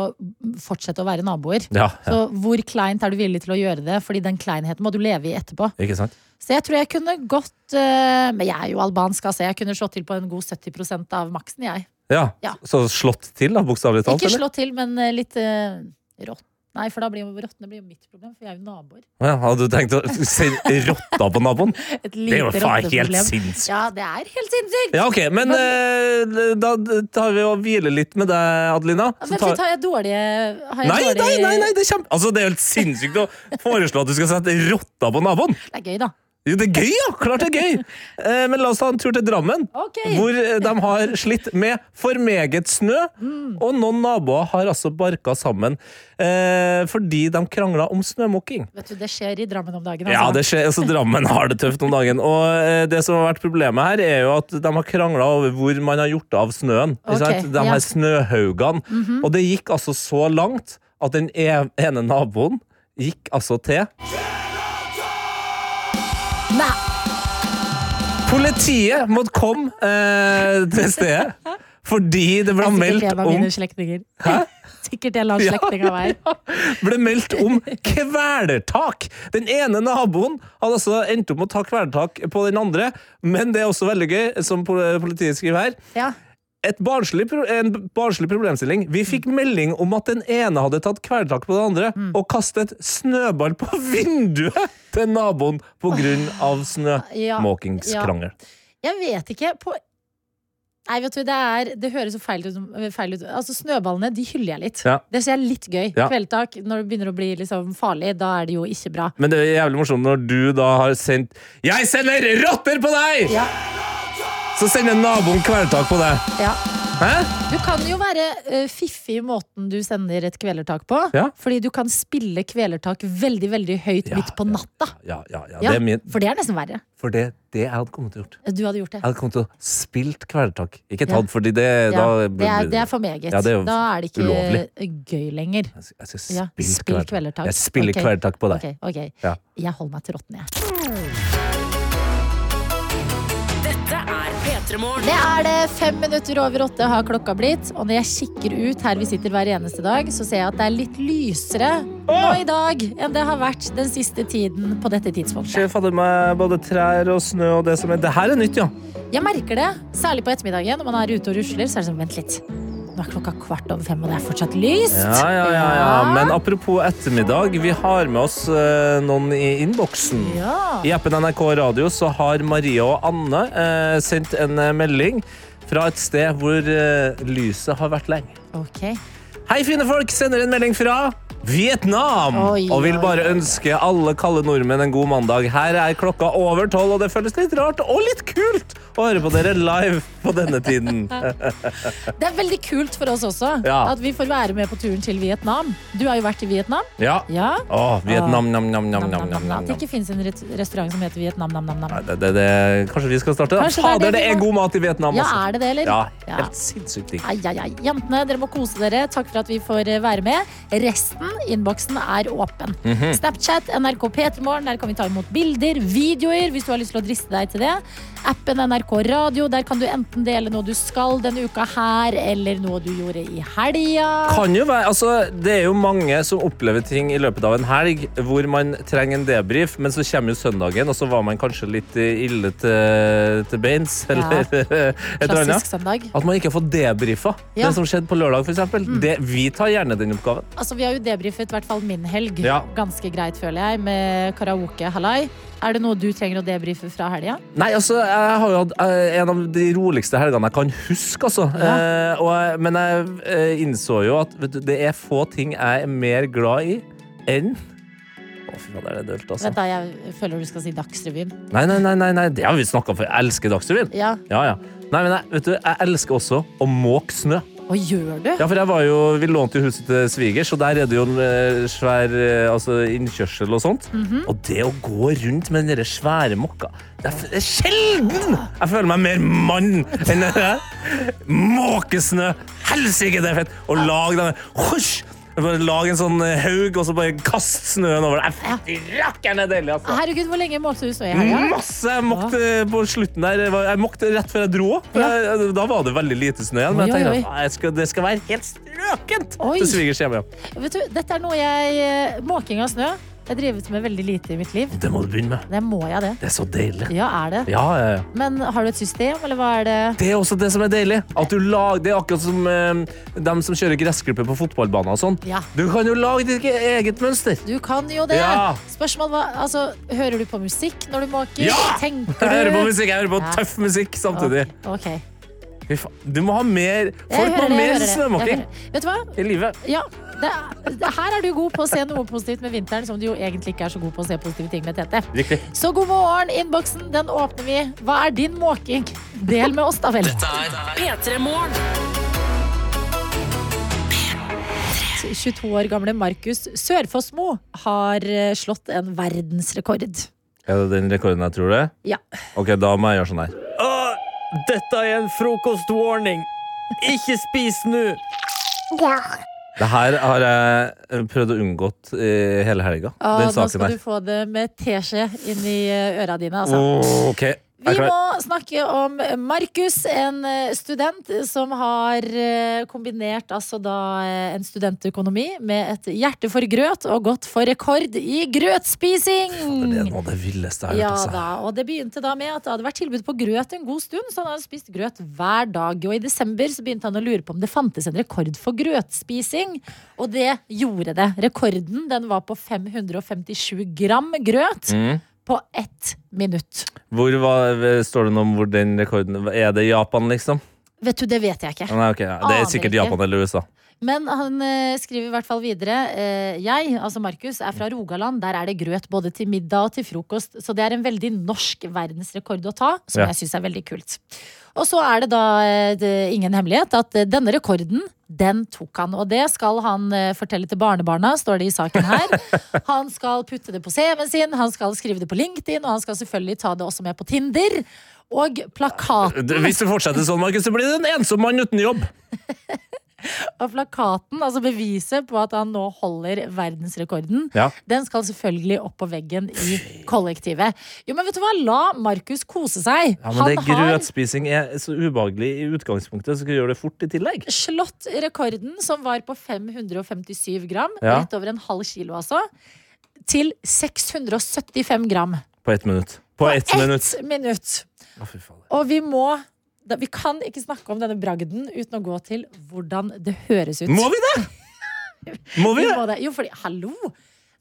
fortsette å være naboer. Ja, Så hvor kleint er du villig til å gjøre det? Fordi den kleinheten må du leve i etterpå. ikke sant? Så jeg tror jeg kunne gått eh, Men jeg er jo albansk, altså. Jeg kunne slått til på en god 70 av maksen, jeg. Ja, Ja. Så slått til, da, bokstavelig talt? Ikke eller? slått til, men eh, litt uh, rått. Nei, for da blir jo rottene blir jo mitt problem, for vi er jo naboer. Ja, hadde du tenkt å sende rotta på naboen? Et Det er jo lite faen helt rotteproblem. sinnssykt! Ja, det er helt sinnssykt! Ja, ok, men, eh, da tar vi og hviler litt med deg, Adelina. Ja, Så Men tar- fint, har jeg dårlige har jeg Nei, dårlig... nei, nei, nei, det er kjempe... Altså, det er helt sinnssykt å foreslå at du skal sette rotta på naboen! Det er gøy, da. Jo, det er gøy, ja! Klart det er gøy! Eh, men la oss ta en tur til Drammen, Ok. hvor eh, de har slitt med for meget snø. Og noen naboer har altså barka sammen eh, fordi de krangla om snømåking. Vet du, Det skjer i Drammen om dagen. Ja, det skjer, altså Drammen har det tøft om dagen. Og eh, det som har vært problemet her, er jo at de har krangla over hvor man har gjort av snøen. Ikke Ok, sant? De ja. Mhm. her snøhaugene. Og det gikk altså så langt at den e- ene naboen gikk altså til Nei, Politiet måtte komme eh, til stedet. Fordi det det ble er sikkert meldt en av om mine slektninger. Sikkert en eller annen slektning av meg. ble meldt om kvelertak. Den ene naboen hadde altså endt opp med å ta kvelertak på den andre, men det er også veldig gøy, som pol- politiet skriver her. Ja. Et barnslig, pro- en barnslig problemstilling. Vi fikk melding om at den ene hadde tatt kvelertak på den andre Mm. og kastet snøball på vinduet til naboen pga. Ja, snømåkingskrangel. Jeg vet ikke på Nei, vet du, det, er, det høres så feil ut. Feil ut. Altså, Snøballene de hyller jeg litt. Ja. Det ser jeg litt gøy. Ja. Kveldtak, når det begynner å bli liksom farlig, da er det jo ikke bra. Men det er jævlig morsomt når du da har sendt 'Jeg sender rotter på deg!' Ja. Så sender naboen kvelertak på deg. Ja. Hæ? Du kan jo være eh, fiffig i måten du sender et kvelertak på. Ja. Fordi du kan spille kvelertak veldig veldig høyt Ja, midt på natta. Ja, ja, ja, Ja, Det er min. For det er nesten verre. For det, det jeg hadde kommet til å gjort. Du hadde gjort det. Jeg hadde kommet til å spilt kvelertak. Ikke Ja. tatt, fordi det Ja, da det, er, det er for meget. Ja, det er jo da er det ikke ulovlig. gøy lenger. Jeg skal- jeg skal Ja, spille spill kvelertak. kvelertak. Jeg spiller Ok. kvelertak på deg. Ok, ok. Ja. Jeg holder meg til rotten, jeg. Dette er P3 Morgen. Det er det fem minutter over åtte har klokka blitt. Og når jeg kikker ut her vi sitter hver eneste dag, så ser jeg at det er litt lysere nå i dag enn det har vært den siste tiden på dette tidspunktet. Sjef hadde med både trær og snø og det som er Det her er nytt, ja. Jeg merker det, særlig på ettermiddagen når man er ute og rusler, så er det sånn, vent litt. Nå er klokka kvart over fem, og det er fortsatt lyst. Ja, ja, ja, ja. Men apropos ettermiddag, vi har med oss eh, noen i innboksen. Ja. I appen NRK Radio så har Maria og Anne eh, sendt en eh, melding fra et sted hvor eh, lyset har vært lenge. Ok. Hei, fine folk! Sender en melding fra Vietnam! Oi, og vil oi, bare ønske alle kalde nordmenn en god mandag. Her er klokka over tolv, og det føles litt rart og litt kult å høre på dere live på denne tiden. Det er veldig kult for oss også Ja. at vi får være med på turen til Vietnam. Du har jo vært i Vietnam. Ja. Ja. Å, Vietnam, nam, nam, nam, Nam, nam, nam, nam, nam. At det nam. ikke fins en ret- restaurant som heter Vietnam nam, nam, nam. Nei, Det, det, det, kanskje vi skal starte? da? Kanskje det er det Fader, det vi er må- god mat i Vietnam. Ja, altså. er det det, eller? Ja, Ja. helt sinnssykt digg. Ai, ai, ai. Jentene, dere må kose dere. Takk for at vi får eh, være med. Resten, innboksen, er åpen. Snapchat, NRK P3morgen, der kan vi ta imot bilder, videoer, hvis du har lyst til å driste deg til det. Appen NRK Radio, der kan du enten dele noe du skal denne uka her, eller noe du gjorde i helga. Kan jo være, altså, det er jo mange som opplever ting i løpet av en helg hvor man trenger en debrief, men så kommer jo søndagen, og så var man kanskje litt eh, ille til, til beins, eller et eller Klassisk annet. søndag. At man ikke har fått debrifa Ja. Mm. det som skjedde på lørdag, f.eks. Det- Vi tar gjerne den oppgaven. Altså, vi har jo debrifet i hvert fall min helg Ja. ganske greit, føler jeg, med karaoke. Hallai. Er det noe du trenger å debrife fra helga? Nei, altså, jeg har jo hatt eh, en av de roligste helgene jeg kan huske, altså. Eh, og, jeg- men jeg eh, innså jo at vet du, det er få ting jeg er mer glad i enn Å, fy fader, det er dølt, altså. Vent da, jeg føler du skal si Dagsrevyen. Nei, nei, nei, nei, nei. det har vi snakka om før. Jeg elsker Dagsrevyen. Ja. Ja, ja. Nei, men jeg, vet du, jeg elsker også å måke snø. Hva gjør du? Ja, for jeg var jo, Vi lånte jo huset til svigers, og der er det jo en eh, svær eh, altså, innkjørsel og sånt. Og det å gå rundt med den der svære mokka det er, f- det er sjelden jeg føler meg mer mann enn det der. Måkesnø! Helsike, det er fett! Og lag den husj, Bare Lag en sånn eh, haug, og så bare kast snøen over deg. Fy rakkeren, det er deilig, altså. Herregud, hvor lenge målte du snø i helga? Masse! Jeg måkte på slutten der. Jeg var- Jeg måkte rett før jeg dro. for Ja. jeg- Da var det veldig lite snø igjen. Men Oi, jeg oi, tenkte oi. at "Nei, jeg skal, det skal være helt strøkent Oi. til svigers hjemme. Vet du, dette er noe jeg eh, Måking av snø. Jeg drevet med veldig lite i mitt liv. Det må du begynne med. Det må jeg det. Det er så deilig. Ja, er det. Ja, ja, ja. Men har du et system, eller hva er det? Det er også det som er deilig. At du lag, det er akkurat som eh, dem som kjører gressklipper på fotballbaner og sånn. Ja. Du kan jo lage ditt e-, eget mønster. Du kan jo det. Ja. Spørsmål hva Altså, hører du på musikk når du måker? Ja! Tenker du? Jeg hører på musikk, jeg hører på Ja. tøff musikk samtidig. Ok. Fy faen, Du må ha mer Jeg Folk må hører ha det, jeg mer hører det. Jeg snømåking hører det. Vet du hva? i livet. Ja, det, det, her er du god på å se noe positivt med vinteren, som du jo egentlig ikke er så god på å se positive ting med, Tete. Riktig. Så god morgen, innboksen, den åpner vi. Hva er din måking? Del med oss, da vel. P3 Morgen. 22 år gamle Markus Sørfossmo har eh, slått en verdensrekord. Er det den rekorden jeg tror det? Ja. Ok, da må jeg gjøre sånn her. Ah, Dette er en frokostwarning. Ikke spis nå! Det her har jeg prøvd å unngått eh, hele helga. Ah, den nå saken skal her. du få det med teskje inn i eh, øra dine, altså. Åh, ok. Vi Jeg er må klar. snakke om Markus, en eh, student som har eh, kombinert altså da eh, en studentøkonomi med et hjerte for grøt og gått for rekord i grøtspising! Det er noe av det villeste jeg Ja har hørt. altså. da, og det begynte da med at det hadde vært tilbud på grøt en god stund, så han hadde spist grøt hver dag. Og i desember så begynte han å lure på om det fantes en rekord for grøtspising, og det gjorde det. Rekorden den var på 557 gram grøt på ett minutt. Altså. Hvor var, står det noe om hvor den rekorden Er det Japan, liksom? Vet du, det vet jeg ikke. Nei, ok, ja. Det Aner er sikkert ikke. Japan eller USA. Men han eh, skriver i hvert fall videre eh, Jeg, altså Markus, er fra Rogaland. Der er det grøt både til middag og til frokost. Så det er en veldig norsk verdensrekord å ta, som Ja. jeg syns er veldig kult. Og så er det da eh, det, ingen hemmelighet at eh, denne rekorden, den tok han. Og det skal han eh, fortelle til barnebarna, står det i saken her. Han skal putte det på CV-en sin, han skal skrive det på LinkedIn, og han skal selvfølgelig ta det også med på Tinder. Og plakaten Du, Hvis du fortsetter sånn, Markus, så blir du en ensom mann uten jobb. Og plakaten, altså beviset på at han nå holder verdensrekorden, Ja. den skal selvfølgelig opp på veggen i kollektivet. Jo, men vet du hva? La Markus kose seg. Ja, men det han har Grøtspising er så ubehagelig i utgangspunktet, så skal du gjøre det fort i tillegg. slått rekorden, som var på 557 gram, Ja. rett over en halv kilo altså, til 675 gram. På ett minutt. På ett minutt. minutt. Å, fy faen. Og vi må da, Vi kan ikke snakke om denne bragden uten å gå til hvordan det høres ut. Må vi det?! Må vi Vi det? må det. Jo, fordi, hallo!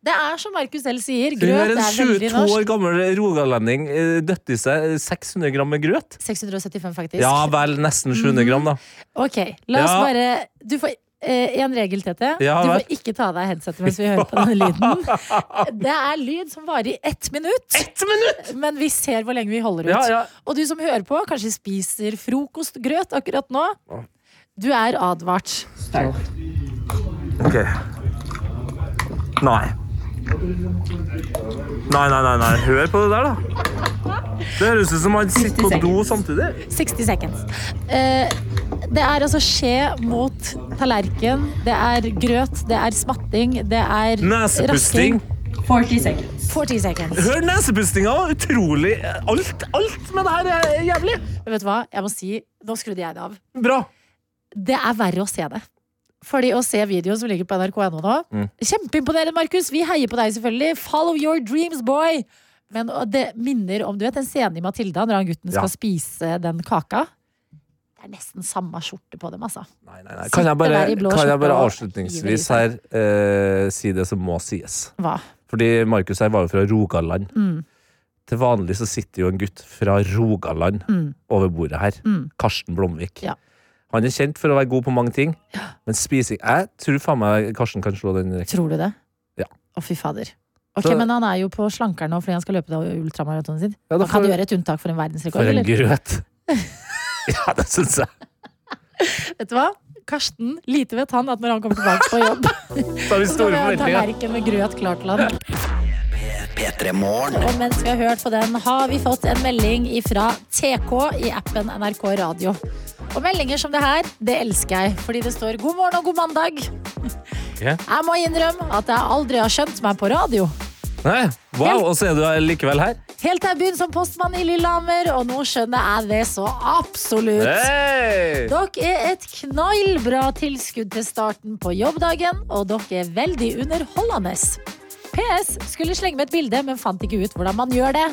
Det er som Markus selv sier, Du er grøt en er veldig 22 norsk. år gammel rogalending eh, døtt i seg eh, 600 gram med grøt. 675, faktisk. Ja vel, nesten 700 gram, da. Ok, la oss Ja. bare du får, eh, en regel, Tete. Ja, du vel. får ikke ta av deg headsetet mens vi hører på denne lyden. Det er lyd som varer i ett minutt. Ett minutt! Men vi ser hvor lenge vi holder ut. Ja, ja. Og du som hører på, kanskje spiser frokostgrøt akkurat nå. Du er advart. Ok. Nei. Nei, nei, nei, nei. Hør på det der, da. Det høres ut som han sitter på do samtidig. 60 seconds. Eh, det er altså skje mot tallerken. Det er grøt, det er smatting, det er Nesepusting. rasking. 40 seconds. Hør nesepustinga! Utrolig. Alt, alt med det her er jævlig. Men vet du hva? Jeg må si, nå skrudde jeg det av. Bra. det er verre å se det. Fordi å se videoen som ligger på nrk.no nå Mm. Kjempeimponerende, Markus! Vi heier på deg, selvfølgelig. Follow your dreams, boy! Men og det minner om du vet, den scenen i Matilda når han gutten skal Ja. spise den kaka. Det er nesten samme skjorte på dem, altså. Nei, nei, nei. Kan Sitter jeg bare, der i blå kan jeg bare skjorte og avslutningsvis hiver her eh, si det som må sies? Hva? Fordi Markus her var jo fra Rogaland. Mm. Til vanlig så sitter jo en gutt fra Rogaland over bordet her. Karsten Blomvik. Mm. Ja. Han er kjent for å være god på mange ting, men spising Jeg tror faen meg Karsten kan slå den rekken. Tror du det? Ja. Å, fy fader. Ok, Så- Men han er jo på slanker nå fordi han skal løpe det ultramaratonet sitt. Ja, da han kan får- gjøre et unntak for en For verdensrekord, en eller? grøt! ja, det syns jeg. Vet du hva? Karsten, lite vet han at når han kommer tilbake på jobb, Så har vi så store er forventninger. tallerken med grøt klar til han. P3 Morgen. Og mens vi har hørt på den, har vi fått en melding fra TK i appen NRK Radio. Og meldinger som det her, det elsker jeg, fordi det står 'god morgen og god mandag'. Ja. Jeg må innrømme at jeg aldri har skjønt meg på radio. Nei, wow, og så er du her likevel her. Helt til jeg begynte som postmann i Lillehammer, og nå skjønner jeg det så absolutt. Hey! Dere er et knallbra tilskudd til starten på jobbdagen, og dere er veldig underholdende. PS skulle slenge med et bilde, men fant ikke ut hvordan man gjør det.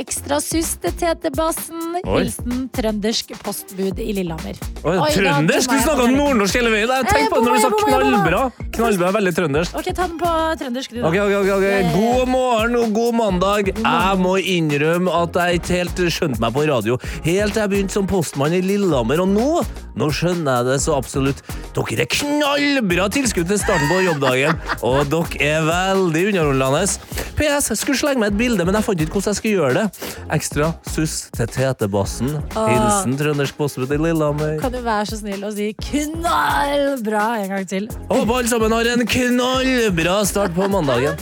Ekstra sus til TT-bassen. Oi. Hilsen trøndersk postbud i Lillehammer. Oi, Oi, da, da må trøndersk! Du jeg snakka bare- nordnorsk hele veien! Jeg Jeg tenkte på det når du sa bomma, jeg bomma, jeg knallbra. Knallbra er veldig trøndersk. Ok, ta den på trøndersk, du, da. Ok, ok, ok, ok. Ja, ja, ja. God morgen og god mandag. Jeg må innrømme at jeg ikke helt skjønte meg på radio. Helt til jeg begynte som postmann i Lillehammer, og nå nå skjønner jeg det så absolutt. Dere er knallbra tilskudd til starten på jobbdagen, og dere er veldig underholdende. PS, jeg skulle slenge meg et bilde, men jeg fant ikke hvordan jeg skulle gjøre det. Ekstra suss til TT-bassen. Ah. Hilsen trøndersk postbud i Lillehammer. Kan du være så snill å si knallbra en gang til? Håper alle sammen har en knallbra start på mandagen.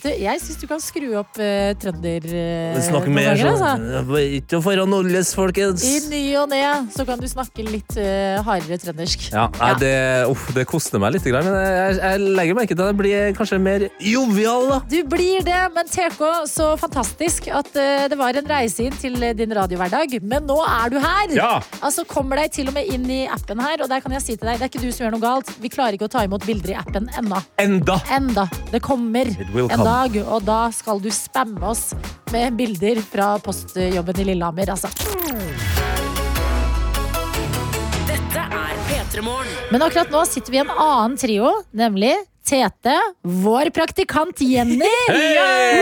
Du, jeg syns du kan skru opp uh, trønder... eh, Snakk noen mer ganger, altså. sånn. Ikke foran oljes, folkens. I ny og ne så kan du snakke litt eh, hardere trøndersk. Ja, nei, det, uff, det koster meg litt, men jeg, jeg legger merke til at jeg blir kanskje mer jovial. da. Du blir det, men TK, så fantastisk at eh, det var en reise inn til eh, din radiohverdag. Men nå er du her! Ja. Altså kommer deg til og med inn i appen her, og der kan jeg si til deg, det er ikke du som gjør noe galt. Vi klarer ikke å ta imot bilder i appen ennå. Enda! Enda. Det kommer will en come. dag, og da skal du spamme oss med bilder fra postjobben i Lillehammer, altså. Dette er P3 Morgen. Men akkurat nå sitter vi i en annen trio, nemlig Tete, vår praktikant Jenny. Hei!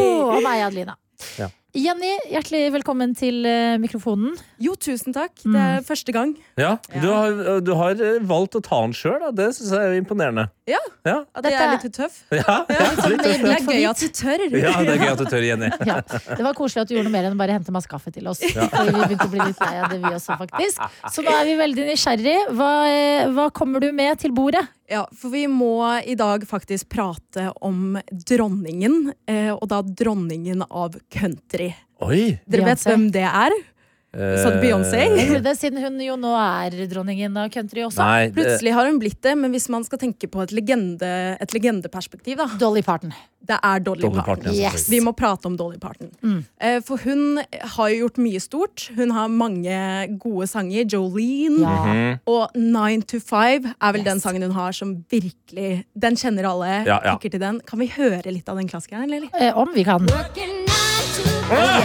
Oh, og meg, Adelina. Ja. Jenny, hjertelig velkommen til eh, mikrofonen. Jo, tusen takk. Det Mm. er første gang. Ja, du har, du har eh, valgt å ta den sjøl, det syns jeg er imponerende. Ja, Ja, At jeg er Dette- litt tøff. ja, ja, litt Det tøft. er gøy at du tør. ja det er gøy at du tør, Jenny. Ja. Det var koselig at du gjorde noe mer enn å bare hente masse kaffe til oss. Fordi vi begynte å bli litt lei av det, vi også, faktisk. Så nå er vi veldig nysgjerrig. Hva, eh, hva kommer du med til bordet? Ja, for vi må i dag faktisk prate om dronningen, eh, og da dronningen av country. Oi! Dere vet Beyoncé. hvem det er? Sa du Beyoncé? Eh, Tror du det, siden hun jo nå er dronningen av country også. Nei, det, Plutselig har hun blitt det, men hvis man skal tenke på et, legende, et legendeperspektiv, da, Dolly Parton. det er Dolly Dolly Parton, Parton. ja, Yes. Mm. Vi må prate om Dolly Parton. Eh, For hun har jo gjort mye stort. Hun har mange gode sanger. Jolene. Ja. Mhm. Og 9 to 5 er vel den Yes. sangen hun har som virkelig Den kjenner alle. Ja, ja. kikker til den. Kan vi høre litt av den klassikeren? eller? Eh, Om vi kan. Working nine to five.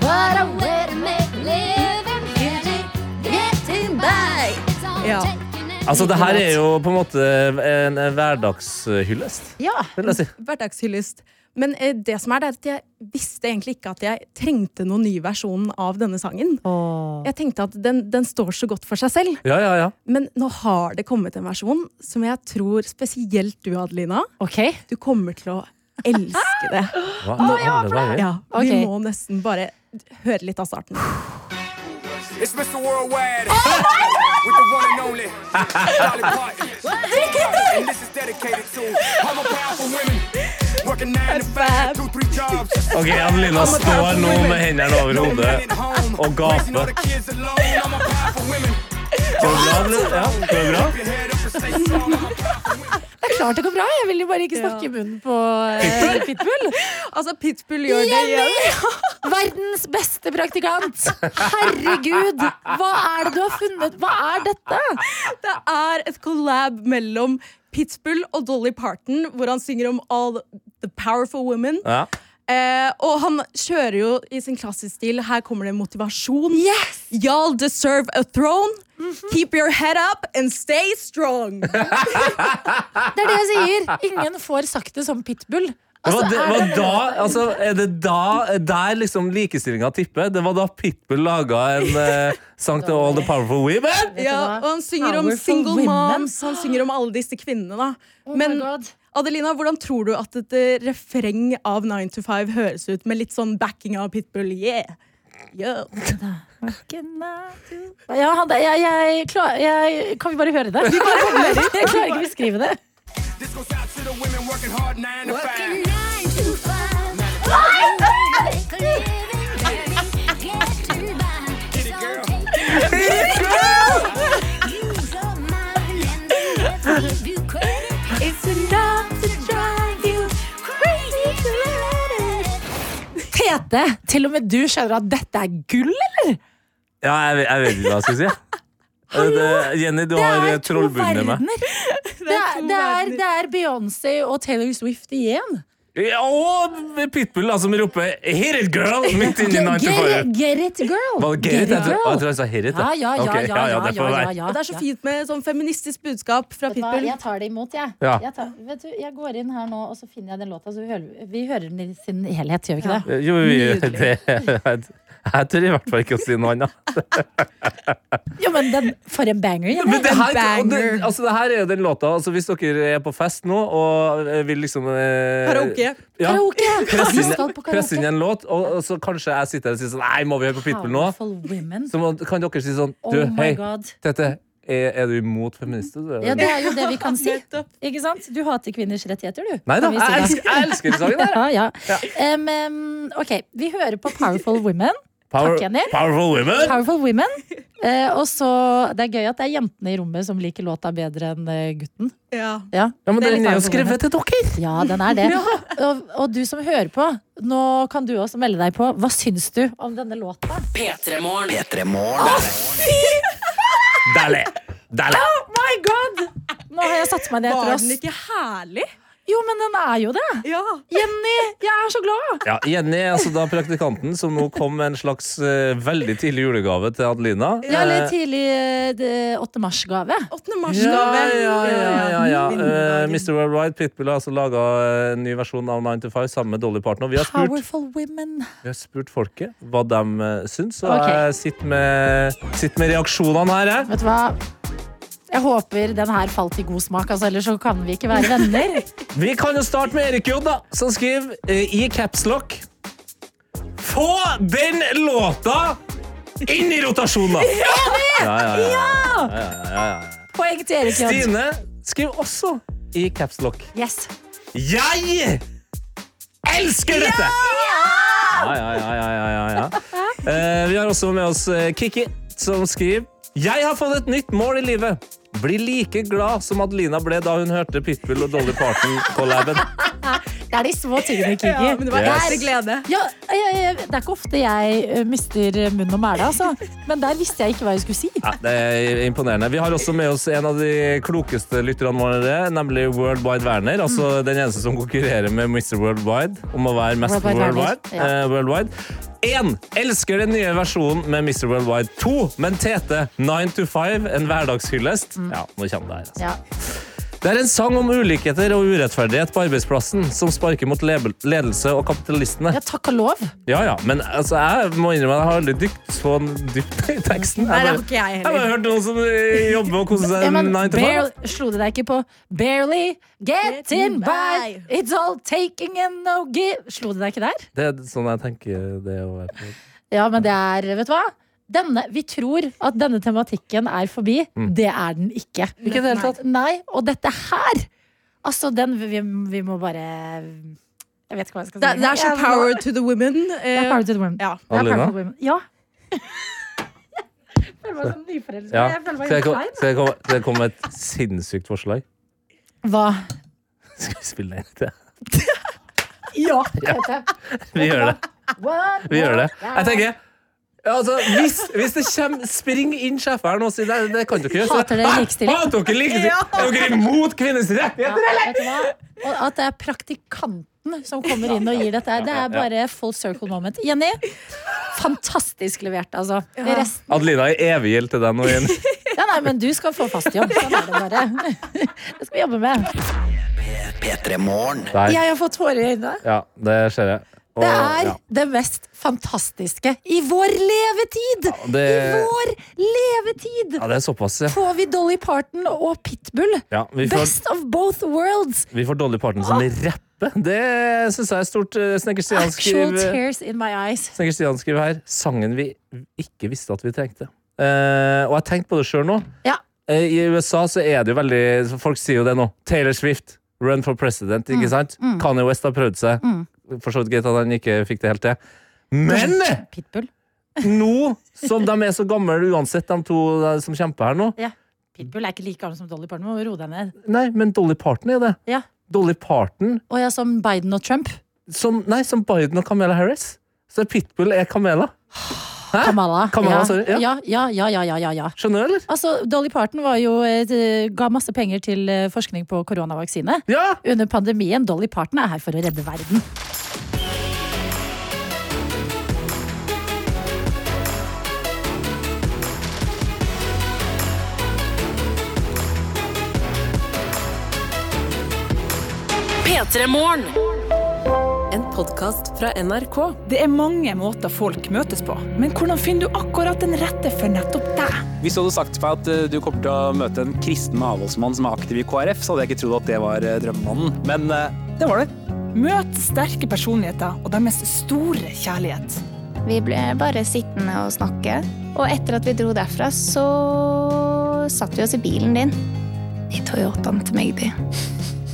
What a way to make a living. Getting, getting by. It's all Ja. taking and Altså, det her er jo på en måte en hverdagshyllest, Ja. vil jeg si. Hverdagshyllest. Men eh, det som er, det er at jeg visste egentlig ikke at jeg trengte noen ny versjon av denne sangen. Jeg tenkte at den, den står så godt for seg selv. Ja, ja, ja. Men nå har det kommet en versjon som jeg tror spesielt du, Adelina, Ok. du kommer til å elske det. Hva i alle dager? Ja, Ok. Vi må nesten bare høre litt av starten. It's Mr. Worldwide with the one and only Dolly Parton. and this is dedicated to all my powerful women working nine to five, two, three jobs. Ok, Adelina står nå med hendene over hodet. og gaper. Går det bra, Adelina? Ja, går det bra? Det er klart det går bra. Jeg vil jo bare ikke snakke i munnen på eh, Pitbull. Altså, Pitbull gjør det igjen. Verdens beste praktikant. Herregud, hva er det du har funnet? Hva er dette? Det er et collab mellom Pitbull og Dolly Parton, hvor han synger om all the powerful women. Ja. Eh, og han kjører jo i sin klassiske stil. Her kommer det motivasjon. Y'all deserve a throne. Mhm. Keep your head up and stay strong. Det er det jeg sier. Ingen får sagt det som Pitbull. Det var, Altså, det, er var det- da, altså, er det da der liksom likestillinga tipper? Det var da Pitbull laga en eh, sang til All the Powerful Women? ja, hva? og han synger om Powerful single women. moms. Han synger om alle disse kvinnene. da Oh Oh Men Adelina, hvordan tror du at et eh, refreng av 9 to 5 høres ut med litt sånn backing av Pitbull? Yeah. Yeah. ja, han, jeg, jeg, klar, jeg, kan vi bare høre det? Jeg klarer ikke å beskrive det. This goes out to the women working hard nine to five. Nine to five. Make a living, baby. Getting by. So take it easy. Use your mind and then let's give you credit. It's enough to drive you crazy to let it. Tete, til og med du skjønner at dette er gull, eller? Ja, jeg, jeg vet ikke hva jeg skal si. Eh, Det, Jenny, du har eh, trollbunnen med. Det er, det er, det er Beyoncé og Taylor Swift igjen. Ja, og Pitbull, da, som roper 'Hit it, girl!' midt inni Get, 95 get, get it, girl! Var det Gerrit? Jeg tror- girl. jeg tror jeg sa Herit. Ja, ja, ja. Ok, ja, ja, ja, det får ja, være. ja. Og det er så fint med sånn feministisk budskap fra Vet du hva, Pitbull. Jeg tar det imot, jeg. Ja. Jeg, tar, vet du, jeg går inn her nå, og så finner jeg den låta. Så vi hører, vi hører den i sin helhet, gjør vi ikke det? Jo, vi, det, jeg, jeg tør i hvert fall ikke å si noe annet. Jo, men den, for en banger. Jenny. Men det her, og det, banger. altså, det her er jo den låta. Altså, hvis dere er på fest nå og eh, vil liksom eh, Karaoke. Ja, Karaoke! press Vi inn- skal på Press inn karaoke. en låt, og, og så kanskje jeg sitter her og sier sånn Nei, må vi høre på Pitbull nå? Powerful women. Så må, kan dere si sånn Oh Du, my hei, god. Tete, er, er du imot feminister? du?» Ja, det er jo det vi kan si. Nettopp. Ikke sant? Du hater kvinners rettigheter, du. Nei da, kan vi jeg si da. elsker, jeg elsker den sangen der. Ja, ja. Em, em, ok, vi hører på Powerful Women. Takk, Jenny. powerful women. Powerful women. Eh, og så, Det er gøy at det er jentene i rommet som liker låta bedre enn eh, gutten. Ja. Ja, Ja, men Det er den litt er jo powerful skrevet til dere. Ja, den er det. Og, og du som hører på, nå kan du også melde deg på. Hva syns du om denne låta? P3morgen. P3morgen. Deilig. Deilig. My God! Nå har jeg satt meg ned etter Var oss. den ikke herlig? Jo, men den er jo det. Ja. Jenny, jeg er så glad. Ja, Jenny er altså da praktikanten som nå kom med en slags eh, veldig tidlig julegave til Adelina. Ja, eller Eh, tidlig eh, det- 8. mars-gave. 8. Ja, mars-gave. ja, ja, ja, ja. Eh, Vinnerdagen. Mr. Worldwide Pitbull har altså laga en ny versjon av 9 to 5 sammen med Dolly Parton. Og vi har spurt, Powerful women. vi har spurt folket hva de eh, syns, og Ok. jeg sitter med, sitter med reaksjonene her. Jeg. Vet du hva? Jeg håper den her falt i god smak, altså, ellers så kan vi ikke være venner. Vi kan jo starte med Erik J, da, som skriver eh, i capslock Få den låta inn i rotasjon, da! Ja, ja, ja, ja. Poeng til Erik Jodd. Stine skriver også i capslock Yes. Jeg elsker dette! Ja, ja, ja, ja, ja, ja, ja. Eh, vi har også med oss eh, Kiki, som skriver Jeg har fått et nytt mål i livet. Bli like glad som Adelina ble da hun hørte Pitbull og Dolly Parton på laben. Det er de små tingene, Kiki. Ja, men det var Yes. yes. glede. Ja, jeg, jeg, det er ikke ofte jeg eh, mister munn og mæle, altså. Men der visste jeg ikke hva jeg skulle si. Ja, det er imponerende. Vi har også med oss en av de klokeste lytterne våre, nemlig Worldwide Werner. Mm. Altså den eneste som konkurrerer med Mr. Worldwide om å være mest Worldwide Werner, worldwide. ja. Eh, worldwide. En, elsker den nye versjonen med Mr. Worldwide 2, men Tete 9 to 5, en hverdagshyllest. Ja, nå kommer det her. Altså. Mm. Ja. Det er en sang om ulikheter og urettferdighet på arbeidsplassen som sparker mot lebe- ledelse og kapitalistene. Ja, takk og lov. Ja, ja, men altså, jeg må innrømme at jeg har aldri dykt så dypt i teksten. Nei, det Jeg har ikke jeg jeg har bare heller. hørt noen som eh, jobber og koser Ja, seg men 9 to 5. barely, slo det deg ikke på 'barely getting Getting by'? by. It's all taking and no give. Slo det deg ikke der? Det er sånn jeg tenker det å være på. Ja, men det er Vet du hva? Denne, vi tror at denne tematikken er forbi. Mm. Det er den ikke. Ikke i det hele tatt. Nei, og dette her Altså, den Vi, vi må bare Jeg vet ikke hva jeg skal si. Det, det er så Jeg- power to the women. Det er eh, power to the women. ja. Det er Adelina? power to the women. Ja. Jeg føler meg som nyforelska. Ja. Jeg føler meg Skal jeg, helt kom- klein. skal, jeg komme, skal jeg komme med et sinnssykt forslag? Hva? Skal vi spille inn det? Ja, Tete. Vi gjør det. One Vi gjør det. more Jeg tenker ja, altså, hvis, hvis det kommer Spring inn sjefen her nå og si det, det kan dere ikke gjøre. Så- Hater dere Hæ? likestilling? Hater dere likestilling? Er dere imot kvinners rettigheter? Vet du hva? Og at det er praktikanten som kommer inn og gir dette. her, Det er bare full circle moment. Jenny, fantastisk levert, altså. Resten, Adelina er evig gjeld til deg nå. Jenny. ja, nei, men du skal få fast jobb. Sånn er det bare. Det skal vi jobbe med. P3 Morgen. Der. Jeg har fått hår i øynene. Ja, det ser jeg. Og- Det er ja. det mest fantastiske i vår levetid! I det- vår levetid! Ja, det er såpass, ja. Får vi Dolly Parton og Pitbull? ja vi, får, Best Ah. of both worlds! vi får Dolly Parton som rapper. Det syns jeg er stort. eh, Snekker Stian Actual skriver, tears in my eyes. Snekker Stian skriver her sangen vi ikke visste at vi trengte. Eh, og jeg har tenkt på det sjøl nå. Ja. Eh, I USA så er det jo veldig så Folk sier jo det nå. Taylor Swift, run for president, Mm. ikke sant? Kanye West har prøvd seg. For så vidt greit at han ikke fikk det helt til. Men Pitbull. nå som de er så gamle uansett, de to eh, som kjemper her nå, Ja. Pitbull er ikke like gammel som Dolly Parton. Må roe deg ned. Nei, men Dolly Parton er det. Ja. Dolly Parton Og ja, som Biden og Trump. som, Nei, som Biden og Kamala Harris. Så Pitbull er Kamela. Hæ? Kamala. Kamala, ja. sorry, ja. Ja, ja, ja, ja, ja, ja, ja. Skjønner du, eller? Altså, Dolly Parton var jo, eh, ga masse penger til eh, forskning på koronavaksine. Ja! Under pandemien. Dolly Parton er her for å redde verden. P3 Morgen. En podkast fra NRK. Det er mange måter folk møtes på, men hvordan finner du akkurat den rette for nettopp deg? Hvis du hadde sagt til meg at eh, du kommer til å møte en kristen avholdsmann som er aktiv i KrF, så hadde jeg ikke trodd at det var eh, drømmemannen. Men eh, det var det. Møt sterke personligheter og deres store kjærlighet. Vi ble bare sittende og snakke. Og etter at vi dro derfra, så satt vi oss i bilen din. I Toyotaen til Magdi.